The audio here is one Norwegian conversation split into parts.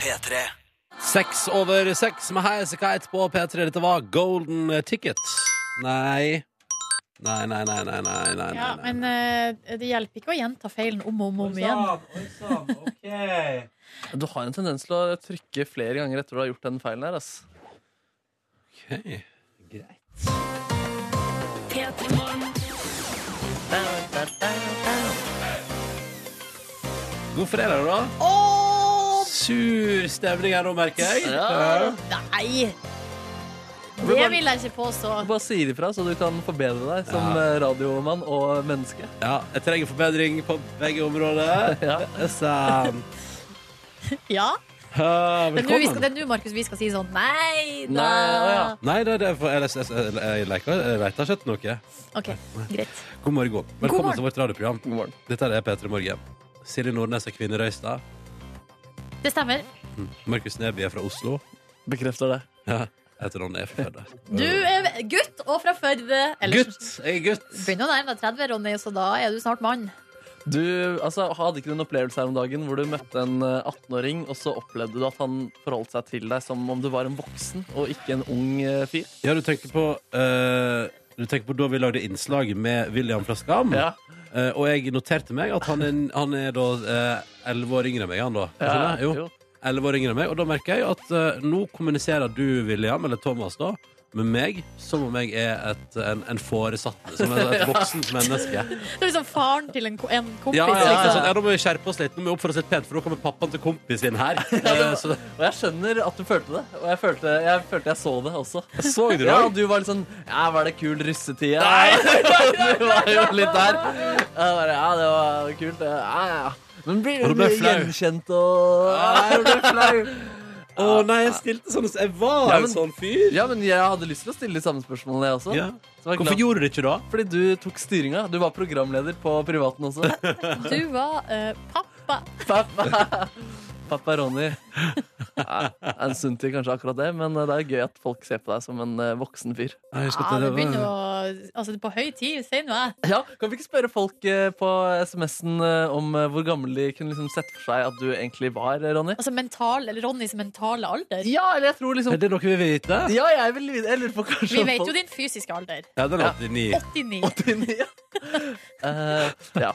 P3. Seks over seks med Highasakite på P3. Dette var Golden Ticket. Nei. Nei, nei, nei, nei, nei, nei, Ja, nei. men eh, det hjelper ikke å gjenta feilen om og om, og om igjen. Oi sann, ok. Du har en tendens til å trykke flere ganger etter du har gjort den feilen her. ass. Ok. Greit. God fredag, da. Åh, Sur stemning her nå, merker jeg. Ja. nei! Det vil jeg ikke påstå. Bare sier ifra, så du kan forbedre deg som eh, radiomann og menneske. Ja, jeg trenger forbedring på begge områder. Ja. Det er sant. Ja. Ah, Det er nå vi skal- velkommen. det er nå, Markus, vi skal si sånn nei Nei, å ja. da. Nei, det er det for jeg, jeg, jeg, jeg, leker- jeg leter ikke etter noe. OK, greit. God morgen. Velkommen morgen. til vårt radioprogram. God morgen. Dette er P3 Morgen. Silje Nordnes er kvinne i Røystad. Det stemmer. Markus Neby er fra Oslo. Bekrefter det. Ja, jeg heter Ronny er fra Førde. Du er gutt og fra Førde. Eller- Gutt! Jeg er gutt. Begynner å nærme deg 30, Ronny, så da er du snart mann. Du altså, hadde ikke du en opplevelse her om dagen hvor du møtte en eh, 18-åring, og så opplevde du at han forholdt seg til deg som om du var en voksen og ikke en ung eh, fyr? Ja, du tenker på eh, Du tenker på da vi lagde innslag med William fra Skam. Ja. Eh, og jeg noterte meg at han er, han er da eh, elleve år yngre enn meg. Han, da. Skjønner jeg? jo. jo. 11 år yngre enn meg, og da merker jeg jo at eh, nå kommuniserer du, William, eller Thomas, da, med meg som om jeg er et, en, en foresatt, som er et voksent menneske. Det er liksom faren til en, ko- en kompis. Ja, ja, ja, liksom. sånn, ja, da må vi skjerpe oss litt, nå må vi oppføre oss litt pent, for nå kommer pappaen til kompisen din her. Eh, så, Og jeg skjønner at du følte det, og jeg følte jeg, følte jeg så det også. Eh, så du det Ja, òg? du var litt sånn Ja, var det kul russetid? Nei! du var jo litt der. Jeg bare, ja, det var kult. det. Ja, ja. Men blir Og du du ble flau. gjenkjent og Ja, jeg ble flau. Å nei, jeg stilte sånn Jeg var Ja, men- en sånn fyr. Ja, men jeg hadde lyst til å stille de samme spørsmålene, jeg også. Ja. Så jeg var Hvorfor glad. gjorde du det ikke da? Fordi du tok styringa. Du var programleder på privaten også. Du var eh, pappa. Pappa. Pappa Ronny. Ja, det er en sunn tid, kanskje, akkurat det, men eh, det er gøy at folk ser på deg som en eh, voksen fyr. Jeg husker at Ja, det var- Ah, begynner å Altså, det er på høy tid, sier nå jeg. Ja, Kan vi ikke spørre folk eh, på SMS-en eh, om eh, hvor gammel de kunne liksom sett for seg at du egentlig var, eh, Ronny? Altså mental, eller Ronnys mentale alder. Ja, eller jeg tror liksom Er det noe vi vil vite? Ja, jeg, vil, jeg lurer på kanskje Vi om vet jo folk- din fysiske alder. Ja, den er 89. 89. 89, ja. Eh, ja.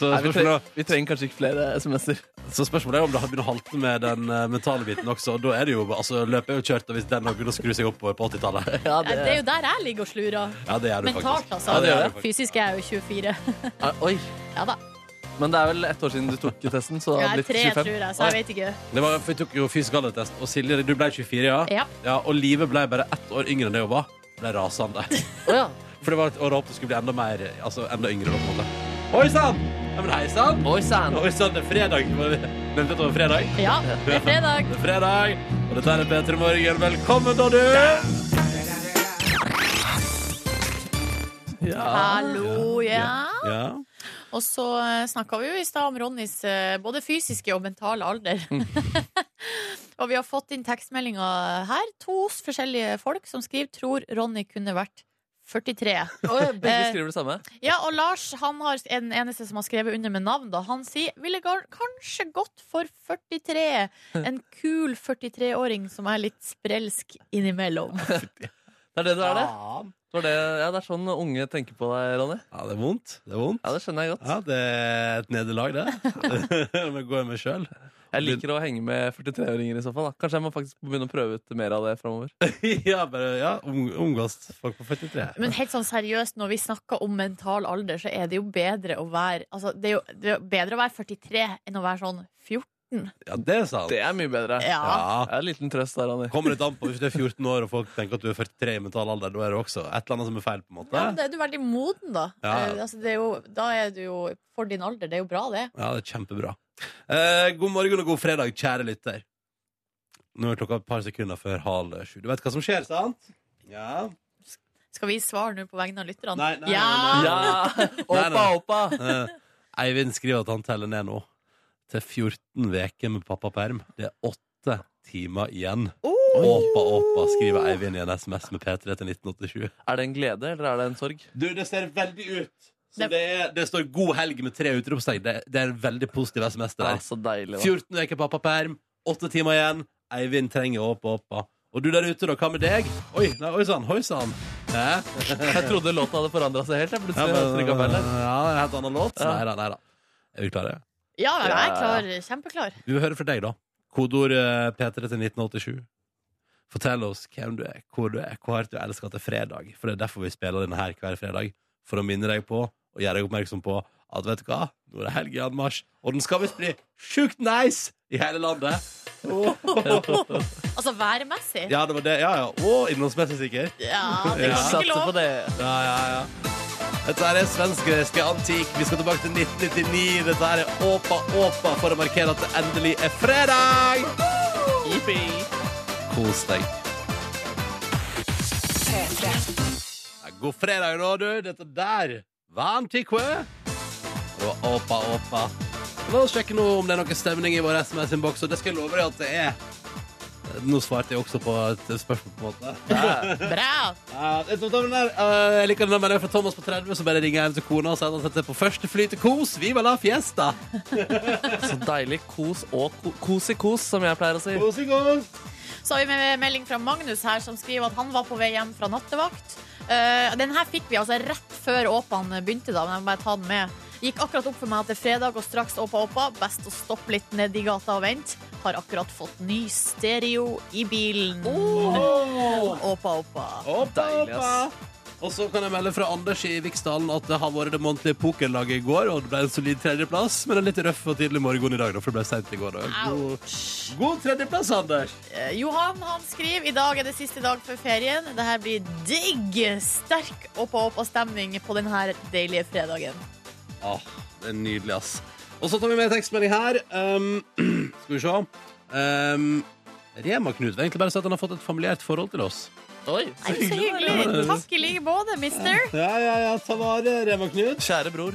Så Nei, vi, trenger, spørsmålet, vi trenger kanskje ikke flere SMS-er. så spørsmålet er om det har begynt å halte med den eh, mentale biten også. Og da er det jo altså, løpet er jo kjørt, og hvis den har begynt å skru seg oppover på 80-tallet Ja, Det er jo der jeg ligger og slurer. Ja, det er du Mentalt, faktisk. altså. Ja, det er du faktisk. Fysisk er jeg jo 24. Ah, Oi. Ja da. Men det er vel ett år siden du tok testen, så det Jeg har er blitt tre, 25. tror jeg, så jeg vet ikke. Det var, for Vi tok jo fysisk aldertest, og Silje, du ble 24, ja? Ja. Og Live ble bare ett år yngre enn det hun var. Ble rasende. Å, ja. For det var et år jeg håpet det skulle bli enda mer Altså enda yngre. da, på en måte Oi sann! Ja, men hei sann! Oi sann. Oi sann, det er fredag. Nevnte at det var fredag. Ja, det er fredag. Det er fredag, og dette er P3 Morgen. Velkommen, da, du! Hallo, ja. Ja. Og så snakka vi jo i stad om Ronnys eh, både fysiske og mentale alder. Mm. og vi har fått inn tekstmeldinger her. To forskjellige folk som skriver 'tror Ronny kunne vært 43'. Å, ja, begge Eh, skriver det samme. Ja, og Lars, han har en eneste som har skrevet under med navn, da. Han sier 'ville gar- kanskje gått for 43'. En kul 43-åring som er litt sprelsk innimellom. Det er det du er, det. Det, var det. Ja, det er sånn unge tenker på deg, Ronny. Ja, det er vondt. Det er vondt. Ja, Det skjønner jeg godt. Ja, det er et nederlag, det. Men går jeg meg sjøl? Jeg liker å henge med 43-åringer i så fall. Da. Kanskje jeg må faktisk begynne å prøve ut mer av det framover. ja, bare ja, om- omgås folk på 43. Men helt sånn seriøst, når vi snakker om mental alder, så er det jo bedre å være altså, det, er jo, det er jo bedre å være 43 enn å være sånn 14. Ja, det er sant. Det er mye bedre. Ja. Ja. Det er en liten trøst der, Ronny. Kommer litt an på hvis du er 14 år og folk tenker at du er 43 i mental alder. Da er det også et eller annet som er feil. på en måte Ja, men da er du veldig moden, da. Ja, ja. Eh, Altså, det er jo, da er du jo for din alder. Det er jo bra, det. Ja, det er kjempebra. Eh, god morgen og god fredag, kjære lytter. Nå er klokka et par sekunder før halv sju. Du vet hva som skjer, sant? Ja. Skal vi svare nå på vegne av lytterne? Nei, nei, ja! nei, Ja! Oppa, oppa! Eh, Eivind skriver at han teller ned nå til 14 uker med pappaperm. Det er åtte timer igjen. Åpa, åpa, skriver Eivind i en SMS med P3 til 1987. Er det en glede, eller er det en sorg? Du, det ser veldig ut. Så Det- det, er, det står 'God helg' med tre utropstegn. Det, det er en veldig positiv SMS. Det Det der. er så deilig, da. 14 uker pappaperm, Åtte timer igjen. Eivind trenger Åpa Åpa. Og du der ute, da? Hva med deg? Oi, nei, oi sann, hoi sann. Hæ? Jeg trodde låten hadde forandra seg helt. Jeg Ja, plutselig men, jeg trykket feil ja, der. en helt annen låt. Ja. Nei da, nei da. Er vi klare? Ja, men jeg er Ja, klar. Kjempeklar. Vi vil høre fra deg, da. Kodeord eh, P3 til 1987. Fortell oss hvem du er, hvor du er, hvor hardt du elsker at det er fredag. For det er derfor vi spiller denne her hver fredag. For å minne deg på, og gjøre deg oppmerksom på, at vet du hva, nå er det helg i anmarsj, og den skal visst bli sjukt nice i hele landet. Altså værmessig. Ja, Ja, det var det. Ja, ja. Og innholdsmessig sikkert. det Ja. kan ikke Satser lov. på det. Ja, ja, ja. Dette her er svensk-greske antikk. Vi skal tilbake til 1999. Dette her er Åpa Åpa for å markere at det endelig er fredag! Kos deg. Ja, god fredag nå, du. Dette der var antikve. Og Åpa Åpa. La oss sjekke nå om det er noe stemning i vår SMS-innboks, og det skal jeg love deg at det er. Nå svarte jeg også på et spørsmål, på en måte. Bra. Ja, jeg tror den der, eh, jeg liker den der meldingen fra Thomas på 30 som bare ringer hjem til kona og sier at han setter på første fly til kos. Viva la fiesta! Så deilig kos og ko kos i kos, som jeg pleier å si. Kos i kos! Så har vi med melding fra Magnus her, som skriver at han var på vei hjem fra nattevakt. Eh, den her fikk vi altså rett før Åpan begynte, da, men jeg må bare ta den med. Gikk akkurat opp for meg at det er fredag og straks Åpa Åpa. Best å stoppe litt nedi gata og vente. Har akkurat fått ny stereo i bilen. Oh! Åpa Åpa. Oppa, Deilig, ass. Og så kan jeg melde fra Anders i Viksdalen at det har vært det månedlige pokerlaget i går, og det ble en solid tredjeplass, men en litt røff og tidlig morgen i dag, da, for det ble seint i går. Da. God, Ouch. god tredjeplass, Anders! Eh, Johan han skriver i dag er det siste dag før ferien. Det her blir digg. Sterk Åpa Åpa-stemning på denne deilige fredagen. Ah, det er nydelig, ass. Og så tar vi med en tekstmelding her. Um, skal vi se. Um, Rema-Knut vil egentlig bare si at han har fått et familiært forhold til oss. Oi, Nei, så hyggelig. hyggelig. Takk i like måte, mister. Ja, ja, ja, ta vare, Rema-Knut. Kjære bror.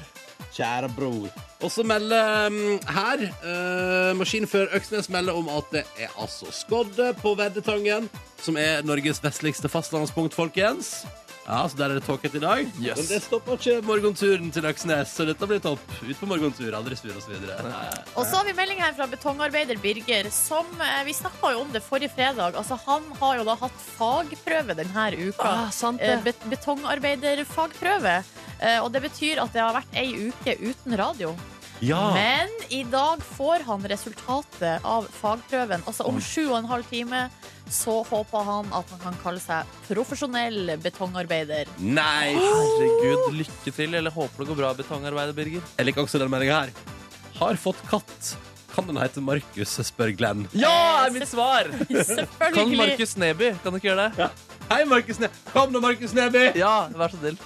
Kjære bror. Og så melder um, her uh, Maskinfører Øksnes melder om at det er altså skodde på Veddetangen, som er Norges vestligste fastlandspunkt, folkens. Ja, så der er det tåket i dag. Yes. Men det stopper ikke morgenturen til Øksnes, så dette blir topp. Ut på morgentur, andre sur og så videre. Og så har vi melding her fra betongarbeider Birger, som eh, vi snakka jo om det forrige fredag. Altså, han har jo da hatt fagprøve denne uka. Ah, sant Eh, det. bet betongarbeiderfagprøve. Eh, Og det betyr at det har vært ei uke uten radio. Ah. Men i dag får han resultatet av fagprøven. Altså om sju og en halv time så håper han at han kan kalle seg profesjonell betongarbeider. Nei! Herregud, lykke til. Eller håper det går bra, betongarbeider, Birger. Jeg liker også den meldinga her. Har fått katt. Kan den hete Markus, spør Glenn. Ja, er mitt svar! Kan Selvfølgelig. Markus Neby, kan du ikke gjøre det? Hei, Markus Ne... Kom nå, Markus Neby! Ja, vær så snill.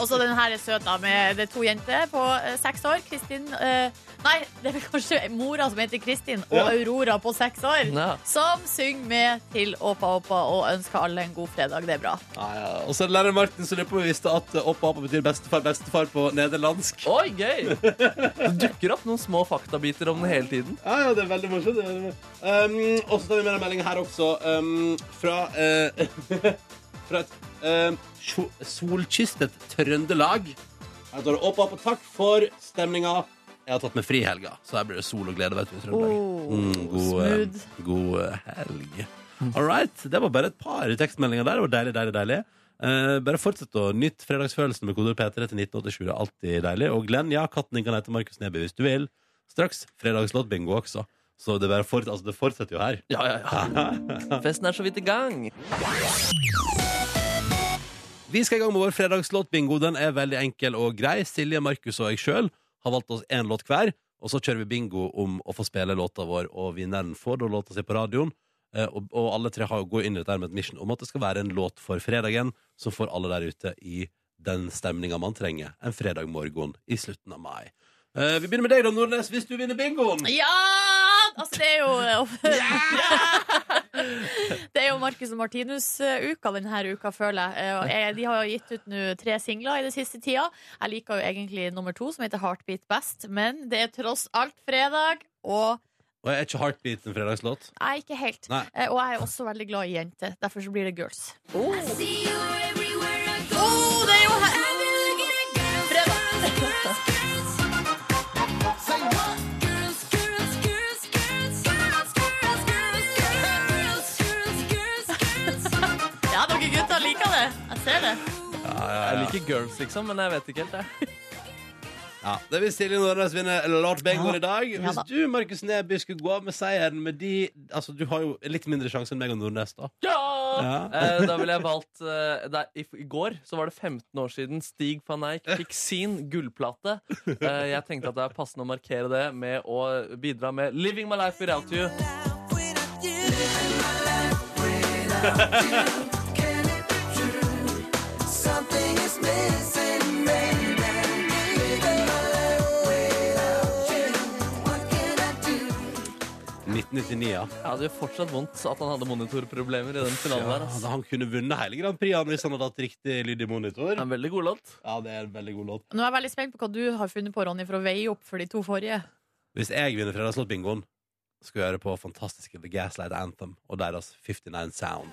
Og så den her er søt, da, med det er to jenter på eh, seks år. Kristin eh, Nei, det er vel kanskje mora som heter Kristin, og Ja. Aurora på seks år. Ja. Som synger med til Åpa Åpa og ønsker alle en god fredag. Det er bra. Ja, ja. Og så er det lærer Martin som lurer på om vi visste at eh, oppa oppa betyr bestefar, bestefar på nederlandsk. Oi, gøy! Det dukker opp noen små faktabiter om den hele tiden. Ja, ja, det er veldig morsomt. det er veldig morsomt. Um, og så tar vi med en melding her også, um, fra eh, Fra et eh, sjo- solkystet Trøndelag. Her står det oppa oppa, takk for stemninga. Jeg har tatt med fri i helga, så her blir det sol og glede. Vet du, i Trøndelag. Oh, Mm, god, eh, smooth. god eh, helg. All right. Det var bare et par tekstmeldinger der. Det var deilig, deilig, deilig. Eh, bare fortsett å nytte fredagsfølelsen med kodeord P3 til 1987. Det er alltid deilig. Og Glenn, ja, katten din kan hete Markus Neby hvis du vil. Straks fredagslåtbingo også. Så det, bare fort, altså, det fortsetter jo her. Ja, ja, ja. Festen er så vidt i gang. Vi skal i gang med vår fredagslåtbingo. Den er veldig enkel og grei. Silje, Markus og jeg sjøl har valgt oss én låt hver. Og så kjører vi bingo om å få spille låta vår, og vinneren får da låta si på radioen. Eh, og, og alle tre har går inn i dette her med et mission om at det skal være en låt for fredagen som får alle der ute i den stemninga man trenger en fredag morgen i slutten av mai. Eh, vi begynner med deg, da, Nordnes, hvis du vinner bingoen. Ja! Altså, det er jo Det er jo Marcus og Martinus-uka denne uka, føler jeg. Eh, Og jeg. De har jo gitt ut nå tre singler i det siste tida. Jeg liker jo egentlig nummer to, som heter Heartbeat best, men det er tross alt fredag, og Og jeg er ikke Heartbeat en fredagslåt. Nei, ikke helt. Nei. Eh, Og jeg er også veldig glad i jenter. Derfor så blir det girls. Oh, det er jo her- Fredag. Fredag. ser det. Jeg liker girls, liksom, men jeg vet ikke helt. Jeg. Ja, det vil Silje Nordnes vinne Lord Bengoen i dag. Ja Hvis da. du, Markus Neby, skulle gå av med seieren med de Altså, du har jo litt mindre sjanse enn meg og Nordnes, da. Ja. Eh, Da ville jeg valgt eh, det er- i, I går så var det 15 år siden Stig van Eijk fikk sin gullplate. Eh, jeg tenkte at det er passende å markere det med å bidra med 'Living My Life Without You'. Thank 1999, ja. Ja, det gjør fortsatt vondt at han hadde monitorproblemer i den finalen der. ja ass. da han kunne vunnet hele Grand Prix han, hvis han hadde hatt riktig lyd i Det er monitor. en veldig god låt. Ja, det er en veldig god låt. Nå er jeg veldig spent på hva du har funnet på, Ronny, for å veie opp for de to forrige. Hvis jeg vinner Fredagslåtbingoen, skal jeg høre på fantastiske The Gaslight Anthem og deres 59 Sound.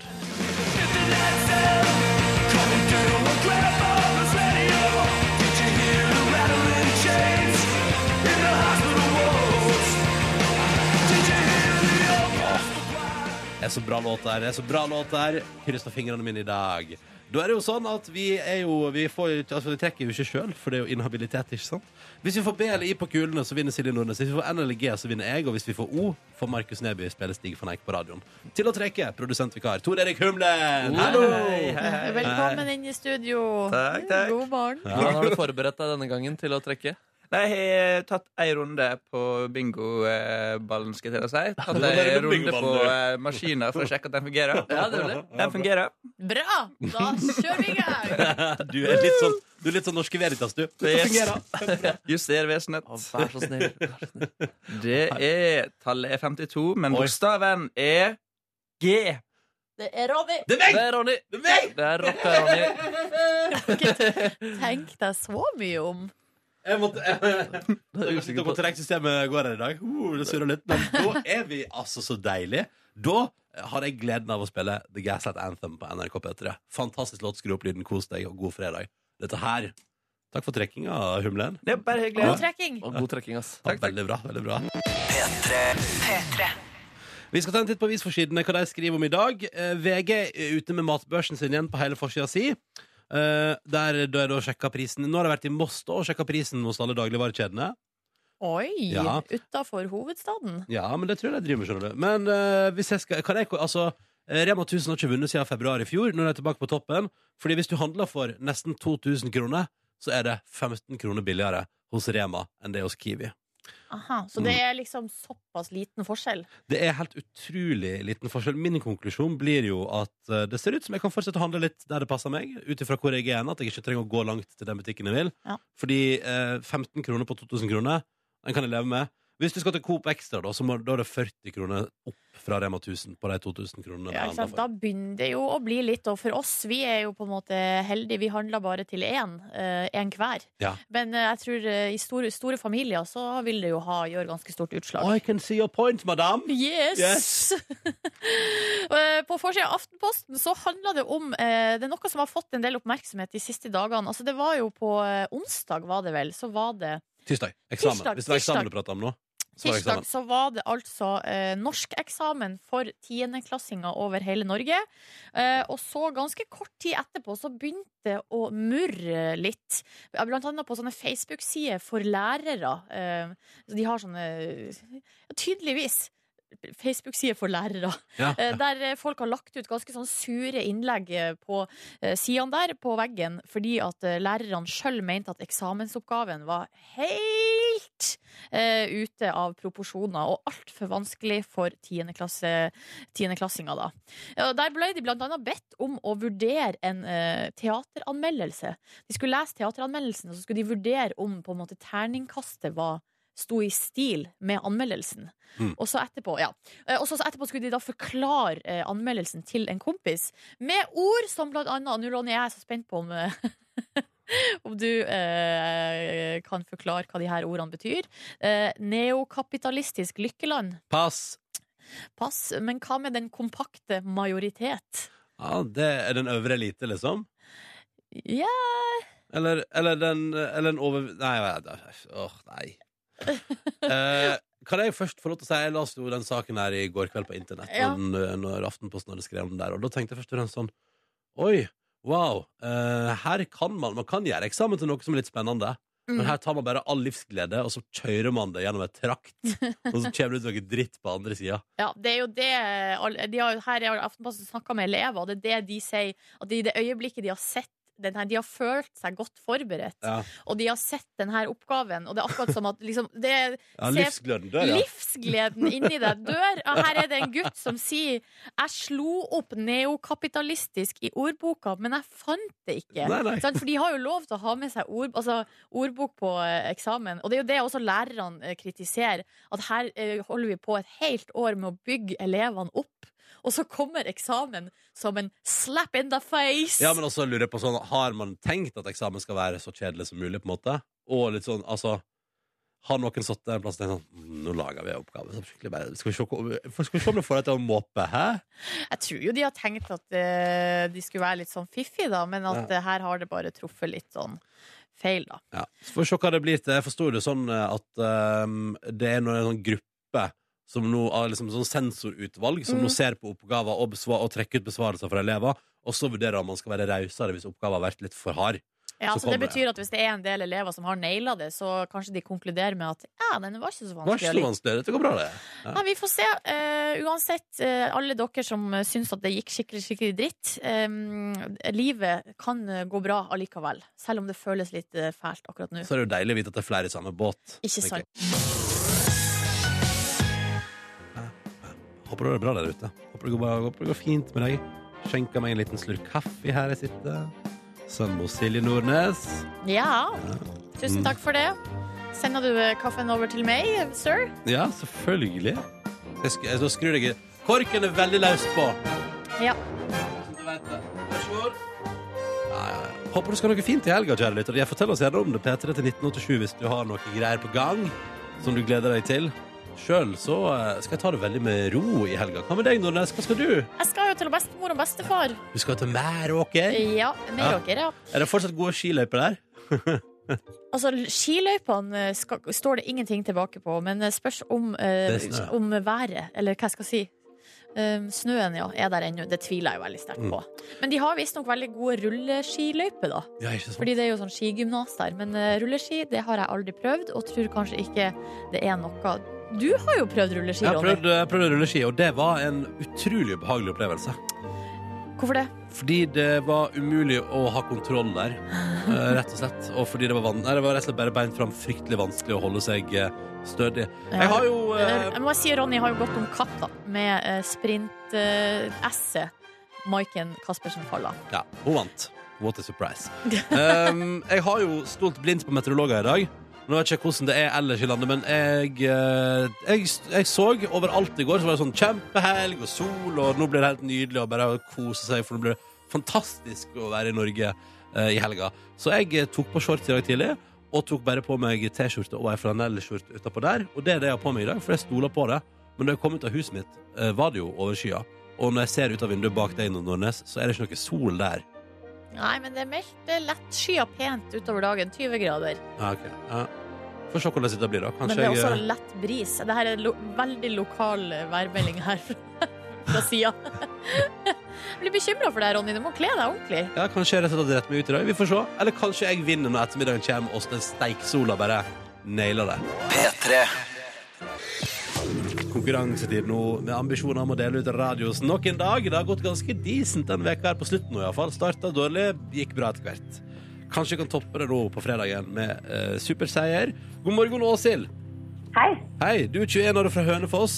Det er så bra låt der. Det er så bra låt der. Kryssa fingrene mine i dag. Da er det jo sånn at vi er jo Vi, får, jo ikke- altså, vi trekker jo ikke sjøl, for det er jo inhabilitet, ikke sant? Hvis vi får B eller I på kulene, så vinner Silje Nordnes. Hvis vi får N eller G, så vinner jeg. Og hvis vi får O, får Markus Neby spille Stig van Eijk på radioen. Til å trekke produsentvikar Tor Erik Humlen! Hei, hei, hei. Velkommen inn i studio. Takk, takk. God morgen. Hvordan har du forberedt deg denne gangen til å trekke? Nei, jeg har tatt ei runde på bingoballen, skal jeg til å si. Du Tatt har ei vært på runde på bingoballen, du. eh, maskiner for å sjekke at den fungerer. Ja, det gjør det. Den fungerer. Bra! Da kjører vi i gang. Du er litt sånn, du er litt sånn Norske Veritas, du. Yes. Fungerer. Justervesenet. Å, vær så snill. Vær så snill. Det er Tallet er 52, men Oi. bokstaven er G. Det er Ronny. Det er meg! Det er Ronny! Det er meg! Det er rocka Ronny. Tenk deg så mye om. Jeg måtte jeg, Det er usikker Usikker på på- hvordan trekksystemet går her i dag. Uh, det surrer litt. Men da er vi altså så deilig. Da har jeg gleden av å spille The Gaslight Anthem på NRK P3. Fantastisk låt. Skru opp lyden, kos deg, og god fredag. Dette her Takk for trekkinga, Humlen. Det er bare hyggelig. God trekking. Å, god trekking, ass. Ja, veldig bra. veldig bra Vi skal ta en titt på avisforsidene, hva de skriver om i dag. Eh, VG er ute med matbørsen sin igjen på hele forsida si. Eh, der da er det å sjekke prisen Nå har jeg vært i Moss da, og sjekka prisen hos alle dagligvarekjedene. Oi! Ja. Utafor hovedstaden. Ja, men det tror jeg de driver med, skjønner du. Men eh, hvis jeg skal kan jeg, altså, eh, Rema 1000 har ikke vunnet siden februar i fjor. Nå er de tilbake på toppen. Fordi hvis du handler for nesten 2000 kroner, så er det 15 kroner billigere hos Rema enn det er hos Kiwi. Aha, så det er liksom såpass liten forskjell. Det er helt utrolig liten forskjell. Min konklusjon blir jo at eh, det ser ut som jeg kan fortsette å handle litt der det passer meg, ut ifra hvor jeg er hen, at jeg ikke trenger å gå langt til den butikken jeg vil. Ja. Fordi eh, 15 kroner på 2000 kroner, den kan jeg leve med. Hvis du skal til Coop Extra, da, så må, da er det 40 kroner opp fra Rema 1000 på de 2000 kronene. jeg Ja, ikke handler sant? Da for. begynner det jo å bli litt, og for oss, vi er jo på en måte heldige, vi handler bare til én, eh, én hver. Ja. Men eh, jeg tror eh, i store, store familier så vil det jo ha, gjøre ganske stort utslag. I can see your point, madam! Yes! Yes. Eh, På forsida av Aftenposten så handla det om eh, Det er noe som har fått en del oppmerksomhet de siste dagene. Altså, det var jo på eh, onsdag, var det vel, så var det Tirsdag. Eksamen. Tirsdag, Hvis det var eksamen tirsdag. du prata om nå. så var det eksamen. Tirsdag så var det altså eh, norskeksamen for tiendeklassinger over hele Norge. Eh, og så ganske kort tid etterpå så begynte det å murre litt. Ja, Blant annet på sånne Facebook-sider for lærere. Eh, så de har sånne ja, Tydeligvis. Facebook-side for lærere, Ja. eh, der eh, folk har lagt ut ganske sånn sure innlegg eh, på eh, sidene der, på veggen, fordi at eh, lærerne sjøl mente at eksamensoppgaven var helt eh, ute av proporsjoner og altfor vanskelig for tiendeklasse- tiendeklassinger. Da. Ja, Der ble de bl.a. bedt om å vurdere en eh, teateranmeldelse. De skulle lese teateranmeldelsen, og så skulle de vurdere om på en måte, terningkastet var Sto i stil med anmeldelsen. Mm. Og så etterpå ja. Eh, og så så etterpå skulle de da forklare eh, anmeldelsen til en kompis med ord som blant annet Nå, Ronny, jeg er så spent på om, eh, om du eh, kan forklare hva de her ordene betyr. Eh, neokapitalistisk lykkeland. Pass. Pass. Men hva med den kompakte majoritet? Ja, det er den øvre elite, liksom? Ja, Eller, eller den Eller en over... Nei, nei, nei. Åh, nei. Eh, kan jeg først få lov til å si Jeg leste jo den saken her i går kveld på internett, Ja. og den, eh, når Aftenposten hadde skrevet om den der, og da tenkte jeg først og fremst sånn Oi, Wow. eh, her kan man Man kan gjøre eksamen til noe som er litt spennende. Mm. Men her tar man bare all livsglede, og så kjører man det gjennom en trakt. Og så kommer det ut noe dritt på andre sida. Ja, det er jo det eh, alle- de har, Her har Aftenposten snakka med elever, og det er det de sier. At i det øyeblikket de har sett den her, de har følt seg godt forberedt, Ja. og de har sett denne oppgaven. Og det er akkurat som at liksom, det er Ja, Se- livsgleden dør, ja. livsgleden inni deg dør. Og her er det en gutt som sier 'Jeg slo opp neokapitalistisk i ordboka, men jeg fant det ikke'. Nei, nei. Sant? For de har jo lov til å ha med seg ord, altså, ordbok på eh, eksamen. Og det er jo det også lærerne eh, kritiserer. At her eh, holder vi på et helt år med å bygge elevene opp. Og så kommer eksamen som en slap in the face! Ja, men også lurer jeg på sånn Har man tenkt at eksamen skal være så kjedelig som mulig, på en måte? Og litt sånn, altså Har noen satt der en plass og tenkt sånn "Mm, Nå lager vi en oppgave som skikkelig bare Skal vi se, hvor- for- skal vi se om det får deg til å måpe, hæ? Jeg tror jo de har tenkt at eh, de skulle være litt sånn fiffige, da, men at eh, her har det bare truffet litt sånn feil, da. Ja. Så får vi se hva det blir til. Jeg forstod det sånn eh, at ehm, det er noen sånn gruppe som nå har liksom sånn sensorutvalg som nå ser på oppgaver og, besva- og trekker ut besvarelser fra elever, og så vurderer om man skal være rausere hvis oppgaven har vært litt for hard. Ja, Så så Det kommer betyr at hvis det er en del elever som har naila det, så kanskje de konkluderer med at ja, den var ikke så Det var ikke vanskelig. så vanskelig. Dette går bra, det. Nei, vi får se. Eh, uansett, eh, alle dere som eh, syns at det gikk skikkelig skikkelig dritt, eh, livet kan eh, gå bra allikevel. Selv om det føles litt eh, fælt akkurat nå. Så er det jo deilig å vite at det er flere i samme båt. Ikke tenker sant. jeg. Håper du har det bra der ute. Håper det går, bra, håper det går fint med deg. Skjenker meg en liten slurk kaffe her jeg sitter. Sammen med Silje Nordnes. Ja. Tusen takk for det. Sender du eh, kaffen over til meg, eh, sir? Ja, selvfølgelig. Jeg sk jeg, så skrur jeg Korken er veldig løst på. Ja. Ja, ja, ja. Håper du skal ha noe fint i helga, kjære lytter. Jeg forteller oss gjerne om det P3 til 1987 hvis du har noe greier på gang som du gleder deg til. Sjøl så eh, skal jeg ta det veldig med ro i helga. Hva med deg, Nordnes? Hva skal du? Jeg skal jo til bestemor og bestefar. Du skal til Mæråker. Ja, Ja. Meråker, ja. Er det fortsatt gode skiløyper der? Altså, skiløypene eh, skal, står det ingenting tilbake på, men det spørs om, eh, Det er snø. om været, eller hva jeg skal si. Um, snøen ja, er der ennå, det tviler jeg veldig sterkt Mm. på. Men de har visstnok veldig gode rulleskiløyper, da. Ja, ikke sant? Fordi det er jo sånn skigymnas der. Men eh, rulleski det har jeg aldri prøvd, og tror kanskje ikke det er noe Du har jo prøvd rulleski, Jeg har Ronny. prøvd, jeg prøvde rulleski, og det var en utrolig ubehagelig opplevelse. Hvorfor det? Fordi det var umulig å ha kontroll der, eh, rett og slett. Og fordi det var, van Nei, det var rett og slett bare beint fram fryktelig vanskelig å holde seg eh, stødig. Jeg har jo eh, Jeg må si Ronny har jo gått om kapp da med eh, sprint-esset Maiken Caspersen Falla. Ja, hun vant. What a surprise. Um, jeg har jo stolt blindt på meteorologer i dag. Nå vet jeg ikke hvordan det er ellers i landet, men jeg, eh, jeg, jeg så overalt i går så var det sånn kjempehelg og sol, og nå blir det helt nydelig å bare kose seg, for nå blir det fantastisk å være i Norge eh, i helga. Så jeg eh, tok på shorts i dag tidlig, og tok bare på meg T-skjorte og ei flanellskjorte utapå der, og det er det jeg har på meg i dag, for jeg stoler på det. Men da jeg kom ut av huset mitt, eh, var det jo over skya. Og når jeg ser ut av vinduet bak deg, Nordnes, så er det ikke noe sol der. Nei, men det er meldt eh, lett skya pent utover dagen. 20 grader. Ja, ok. Ja. Får se hvordan dette blir, da. Ah, Men Kanskje det er jeg eh, også lett bris. Det her er lo veldig lokal eh, værmelding her fra, fra sida. Jeg blir bekymra for deg, Ronny. Du må kle deg ordentlig. ja, Kanskje jeg rett og slett retter meg ut i dag. Vi får se. Eller kanskje jeg vinner når ettermiddagen kommer og den steiksola bare nailer det. Konkurransetid nå, med ambisjoner om å dele ut radios nok en dag. Det har gått ganske decent den veka her på slutten nå, iallfall. Starta dårlig, gikk bra etter hvert. Kanskje vi kan toppe det nå på fredagen med eh, superseier. God morgen, Åshild. Hei. Hei, du er 21 år og fra Hønefoss.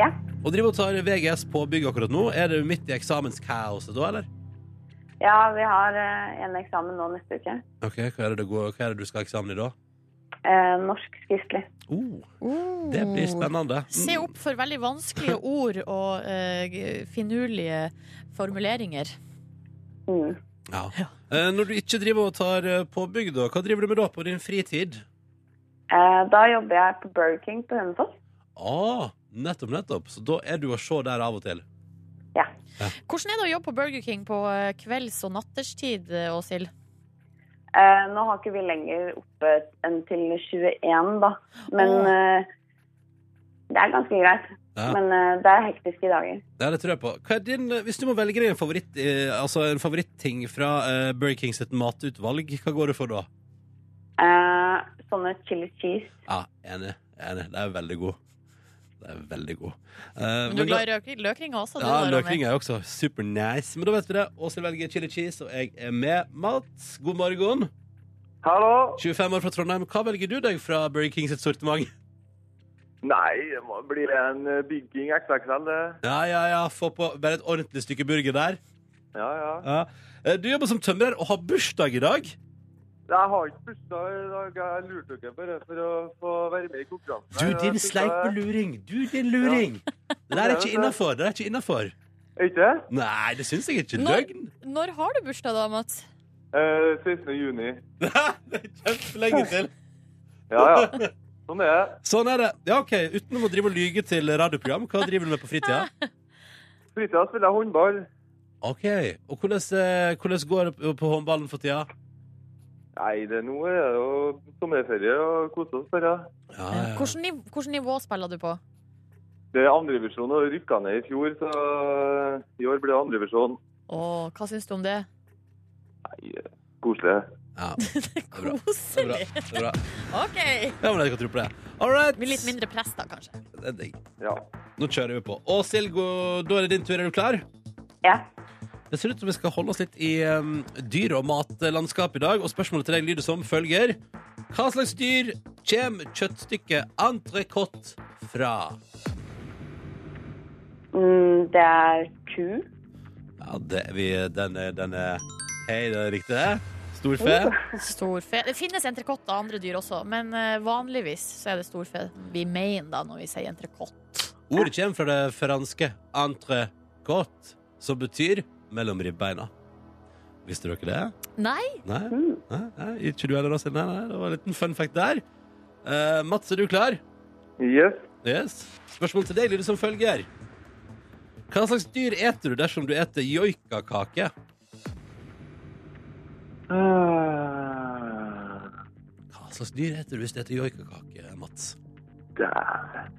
Ja. Og driver og tar VGS på bygg akkurat nå. Er du midt i eksamenskaoset da, eller? ja, vi har eh, en eksamen nå neste uke. Ok, Hva er det, det går, hva er det du skal ha eksamen i da? Eh, norsk skriftlig. Oh, det blir spennende. Mm. Se opp for veldig vanskelige ord og eh, g- finurlige formuleringer. Mm. Ja. Eh, Når du ikke driver og tar eh, på bygg, da, hva driver du med da på din fritid? Eh, da jobber jeg på Burger King på Hønefoss. Ah, nettopp, nettopp. Så da er du å se der av og til. Hvordan er det å jobbe på Burger King på eh, kvelds- og natterstid, eh, Åshild? Eh, nå har ikke vi lenger oppe enn til 21, da. Men Åh. eh, det er ganske greit. Ja. Men eh, det er hektiske dager. Ja, det tror jeg på. Hva er din, eh, hvis du må velge deg en, favoritt, eh, altså en favoritting fra eh, Burger King sitt matutvalg, hva går det for da? Eh, sånne chili cheese. Ja, enig. enig. Det er veldig god. Det er veldig god. Eh, Men du er glad i røkring- løkringer også? du, Ja, da, Ronny. løkring er også super nice. Men da vet vi det. Åshild velger chili cheese, og jeg er med. Mats, god morgen. Hallo! 25 år fra Trondheim. Hva velger du deg fra Burger King sitt sortiment? Nei, det må- blir det en eh, Big King XXL, det. Ja, ja, ja. Få på bare et ordentlig stykke burger der. Ja, ja. Ja. Eh, Du jobber som tømrer og har bursdag i dag. Jeg har ikke bursdag i dag. Jeg lurte dere bare for å få være med i konkurransen. Du, her. Jeg din synes det- sleipeluring! Du, din luring! Det der er ikke innafor. Det er ikke innafor. Er Ikke det? Nei, det syns jeg ikke. Når- Løgn! Når har du bursdag, da, Mats? Eh, 16. juni. Det er kjempelenge til. Ja, ja. Sånn er det. Sånn er det. Ja, OK. Utenom å drive og lyge til radioprogram, hva driver du med på fritida? Fritida spiller jeg håndball. OK. Og hvordan, eh, hvordan går det på håndballen for tida? Nei, det nå er det jo sommerferie og kose oss bare. Ja, ja. Hvilket nivå, Eh, hvordan nivå spiller du på? Det er andrevisjon og rykka ned i fjor, så eh, i år blir det andrevisjon. Åh, hva syns du om det? Nei, eh, koselig. ja. er bra. Det er bra. Koselig. Det er bra. OK. Ja, men jeg kan tro på det. All right. Med litt mindre press, da, kanskje. Det er digg. Ja. Nå kjører vi på. Åshild, gå- da er det din tur. Er du klar? Ja. Det ser ut som vi skal holde oss litt i um, dyr- og matlandskap i dag, og spørsmålet til deg lyder som følger. Hva slags dyr kommer kjøttstykket entrecôte fra? Mm, det er ku. Ja, det, vi, den, er, den er Hei, det er riktig, det. Storfe. Oh. Storfe. Det finnes entrecôte av andre dyr også, men eh, vanligvis så er det storfe vi mener da når vi sier entrecôte. Ordet kommer fra det franske entrecôte, som betyr mellom ribbeina. Visste dere det? Nei, Nei? Mm. nei, nei. Ikke du heller, Åshild? Nei, nei, det var en liten fun fact der. Eh, Mats, er du klar? Yes. Yes. Spørsmål til deg lyder som følger. Hva slags dyr eter du dersom du eter joikakake? Eh, Ah, Hva slags dyr eter du hvis du eter joikakake, Mats? Dæven.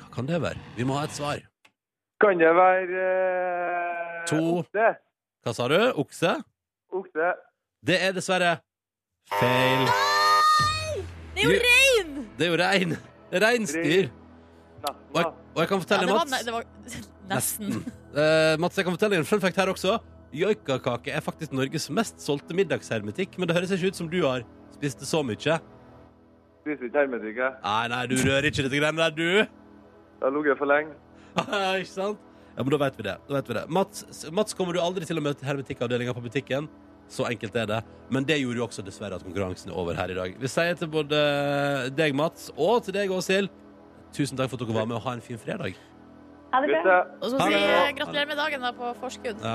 Hva kan det være? Vi må ha et svar. Kan det være eh, To. Okse. Hva sa du? Okse? Okse. Det er dessverre feil. det er jo Jo- rein! Det er jo rein. Reinsdyr. Nesten, Og, da. jeg- og jeg kan Ja, fortelle det var, Mats det var nesten. Eh, Mats, jeg kan fortelle en fun fact her også. Joikakake er faktisk Norges mest solgte middagshermetikk, men det høres ikke ut som du har spist det så mye. Spiser ikke hermetikk, jeg. Nei, nei, du rører ikke dette greiene der, du. Jeg har ligget for lenge. ikke sant? Ja, men da vet vi det. Da vet vi det. Mats, Mats kommer du aldri til å møte hermetikkavdelinga på butikken. Så enkelt er det. Men det gjorde jo også dessverre at konkurransen er over her i dag. Vi sier til både deg, Mats, og til deg, Åshild, tusen takk for at dere var med, og ha en fin fredag. Ha det Hvis bra. jeg- Og så Ha si det. eh, gratulerer med dagen da på forskudd. Ja,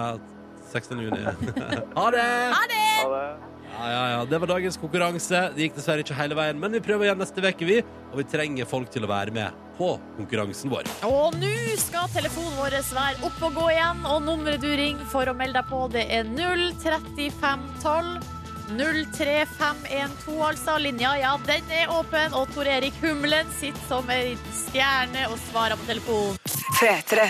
16. juni. ha det! Ha det. Ja, ja, ja. Det var dagens konkurranse. Det gikk dessverre ikke hele veien, men vi prøver igjen neste uke, vi. Og vi trenger folk til å være med på konkurransen vår. Og nå skal telefonen vår være opp og gå igjen, og nummeret du ringer for å melde deg på, det er 03512. 03512, altså. Linja, ja, den er åpen. Og Tor Erik Humlen sitter som ei stjerne og svarer på telefonen.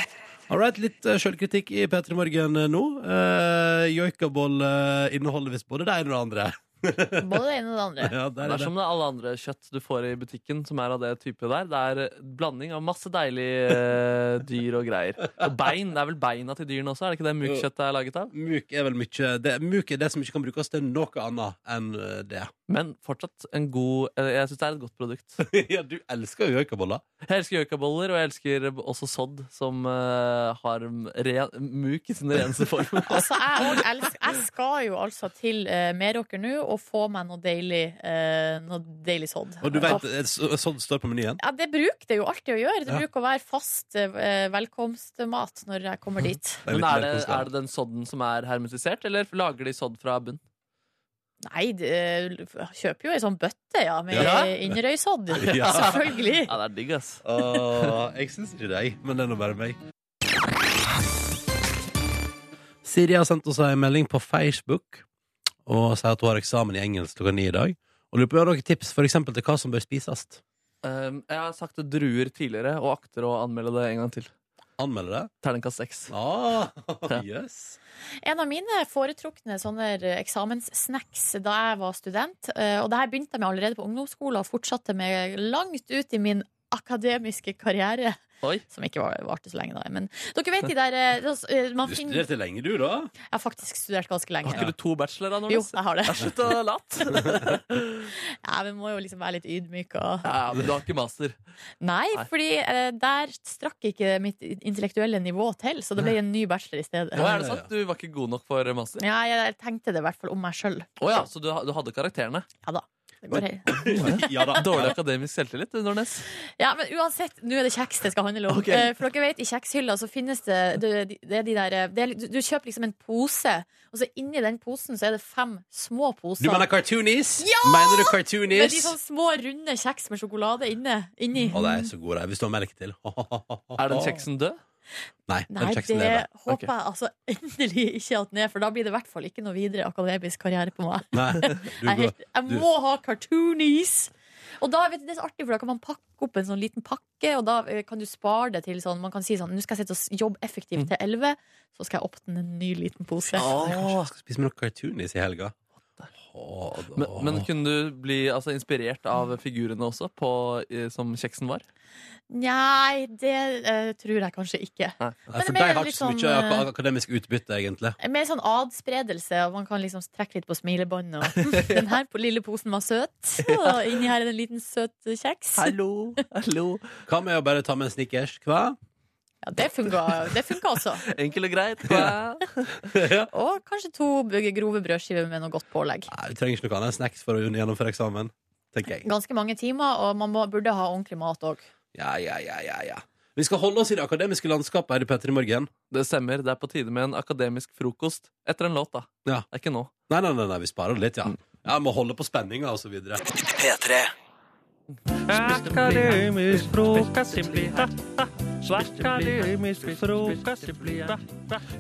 All right, litt eh, sjølkritikk i P3 Morgen eh, nå. Uh, Joikaboll eh, inneholder visst både det ene og det andre. Både det ene og det andre. ja, der Det er er det. som det er alle andre kjøtt du får i butikken som er av det type der. Det er eh, blanding av masse deilige eh, dyr og greier. Og bein. Det er vel beina til dyrene også? Er det ikke det mykt kjøtt det er laget av? Muk er vel mye det, Muk er det som ikke kan brukes til noe annet enn eh, det. Men fortsatt en god eh, Jeg syns det er et godt produkt. ja, du elsker jo joikaboller. Jeg elsker gjøkaboller, og jeg elsker også sodd, som eh, har ren, muk i sin reneste form. Altså, jeg, og elsk, jeg skal jo altså til uh, Meråker nå og få meg noe deilig, eh, noe deilig sodd. Og du vet, eh, så- sånn står det på menyen. Ja, det bruker det jo alltid å gjøre. Det Ja. bruker å være fast eh, velkomstmat når jeg kommer dit. er litt Men er det, mer koselig. er det den sodden som er hermetisert, eller lager de sodd fra bunn? Nei, det, jeg kjøper jo ei sånn bøtte, ja, med Ja. innrøysodd. Ja. Selvfølgelig. Ja, det er digg, ass. Åh, jeg syns ikke det, jeg, men det er nå bare meg. Siri har sendt oss en melding på Facebook og sier at hun har eksamen i engelsk klokka ni i dag. Og lurer på om hun har noen tips for eksempel, til hva som bør spises. Um, jeg har sagt druer tidligere og akter å anmelde det en gang til. Anmelder det? Terningkast seks. Ah, Ja. yes. En av mine foretrukne sånne eh, eksamenssnacks da jeg var student, eh, og det her begynte jeg med allerede på ungdomsskolen og fortsatte med langt ut i min akademiske karriere, Oi. som ikke var- varte så lenge da, men dere vet de der eh, altså, eh, man Du finner, studerte lenge, du, da? Jeg har faktisk studert ganske lenge. Har ikke du to bachelorer nå? Jo, jeg har det. Slutt å late! Ja, vi må jo liksom være litt ydmyke og Ja, men du har ikke master. Nei, Nei. fordi eh, der strakk ikke mitt intellektuelle nivå til, så det ble en ny bachelor i stedet. Å, er det ja, ja. sant? Du var ikke god nok for master? Ja, jeg tenkte det i hvert fall om meg sjøl. Å ja, så du, ha- du hadde karakterene? Det går helt- Ja da. Dårlig akademisk selvtillit, du, Nordnes. Ja, men uansett, nå er det kjeks det skal handle om. Ok. Eh, For dere vet, i kjekshylla så finnes det, det, det er de der eh, det er, du, du kjøper liksom en pose, og så inni den posen så er det fem små poser. Du mener cartoonies? Ja! Mener du med cartoonies? de sånn små, runde kjeks med sjokolade inne, inni. Å, de er så gode, de. Hvis du har melk til. Er den kjeksen død? Nei, den Nei, det kjeksen lever. håper Ok. jeg altså endelig ikke at den er, for da blir det i hvert fall ikke noe videre akademisk karriere på meg. Nei, du Jeg, er går. helt, jeg du- må ha cartoonies! Og da, vet du, det er så artig, for da kan man pakke opp en sånn liten pakke, og da eh, kan du spare det til sånn Man kan si sånn Nå skal jeg sitte og s- jobbe effektivt til elleve, så skal jeg åpne en ny liten pose. Åh. Jeg skal spise med noe cartoonies i helga. Å, da. Men, men kunne du bli altså, inspirert av figurene også, på, eh, som kjeksen var? Nei, det eh, tror jeg kanskje ikke. Nei, for men det er de har litt ikke så mye sånn, eh, ak- akademisk utbytte, egentlig. Mer sånn adspredelse, og man kan liksom trekke litt på smilebåndet. Og «Hm, den her på lille posen var søt, og inni her er det en liten søt eh, kjeks. Hallo, hallo. Hva med å bare ta med en snickers? Hva? Ja, det funka, det funka også. Enkel og greit. Ja. Og kanskje to bøgge grove brødskiver med noe godt pålegg. Nei, du trenger ikke noe annet enn snacks for å gjennomføre eksamen. Tenker jeg. Ganske mange timer, og man må, burde ha ordentlig mat òg. Ja, ja, ja, ja, ja. Vi skal holde oss i det akademiske landskapet her i Petter i morgen. Det stemmer. Det er på tide med en akademisk frokost etter en låt, da. Ja. Det er ikke nå. Nei, nei, nei, nei vi sparer det litt, ja. Ja, Må holde på spenninga og så videre. Akademisk frokost det blir ha, ha. Akademisk frokost det blir ha.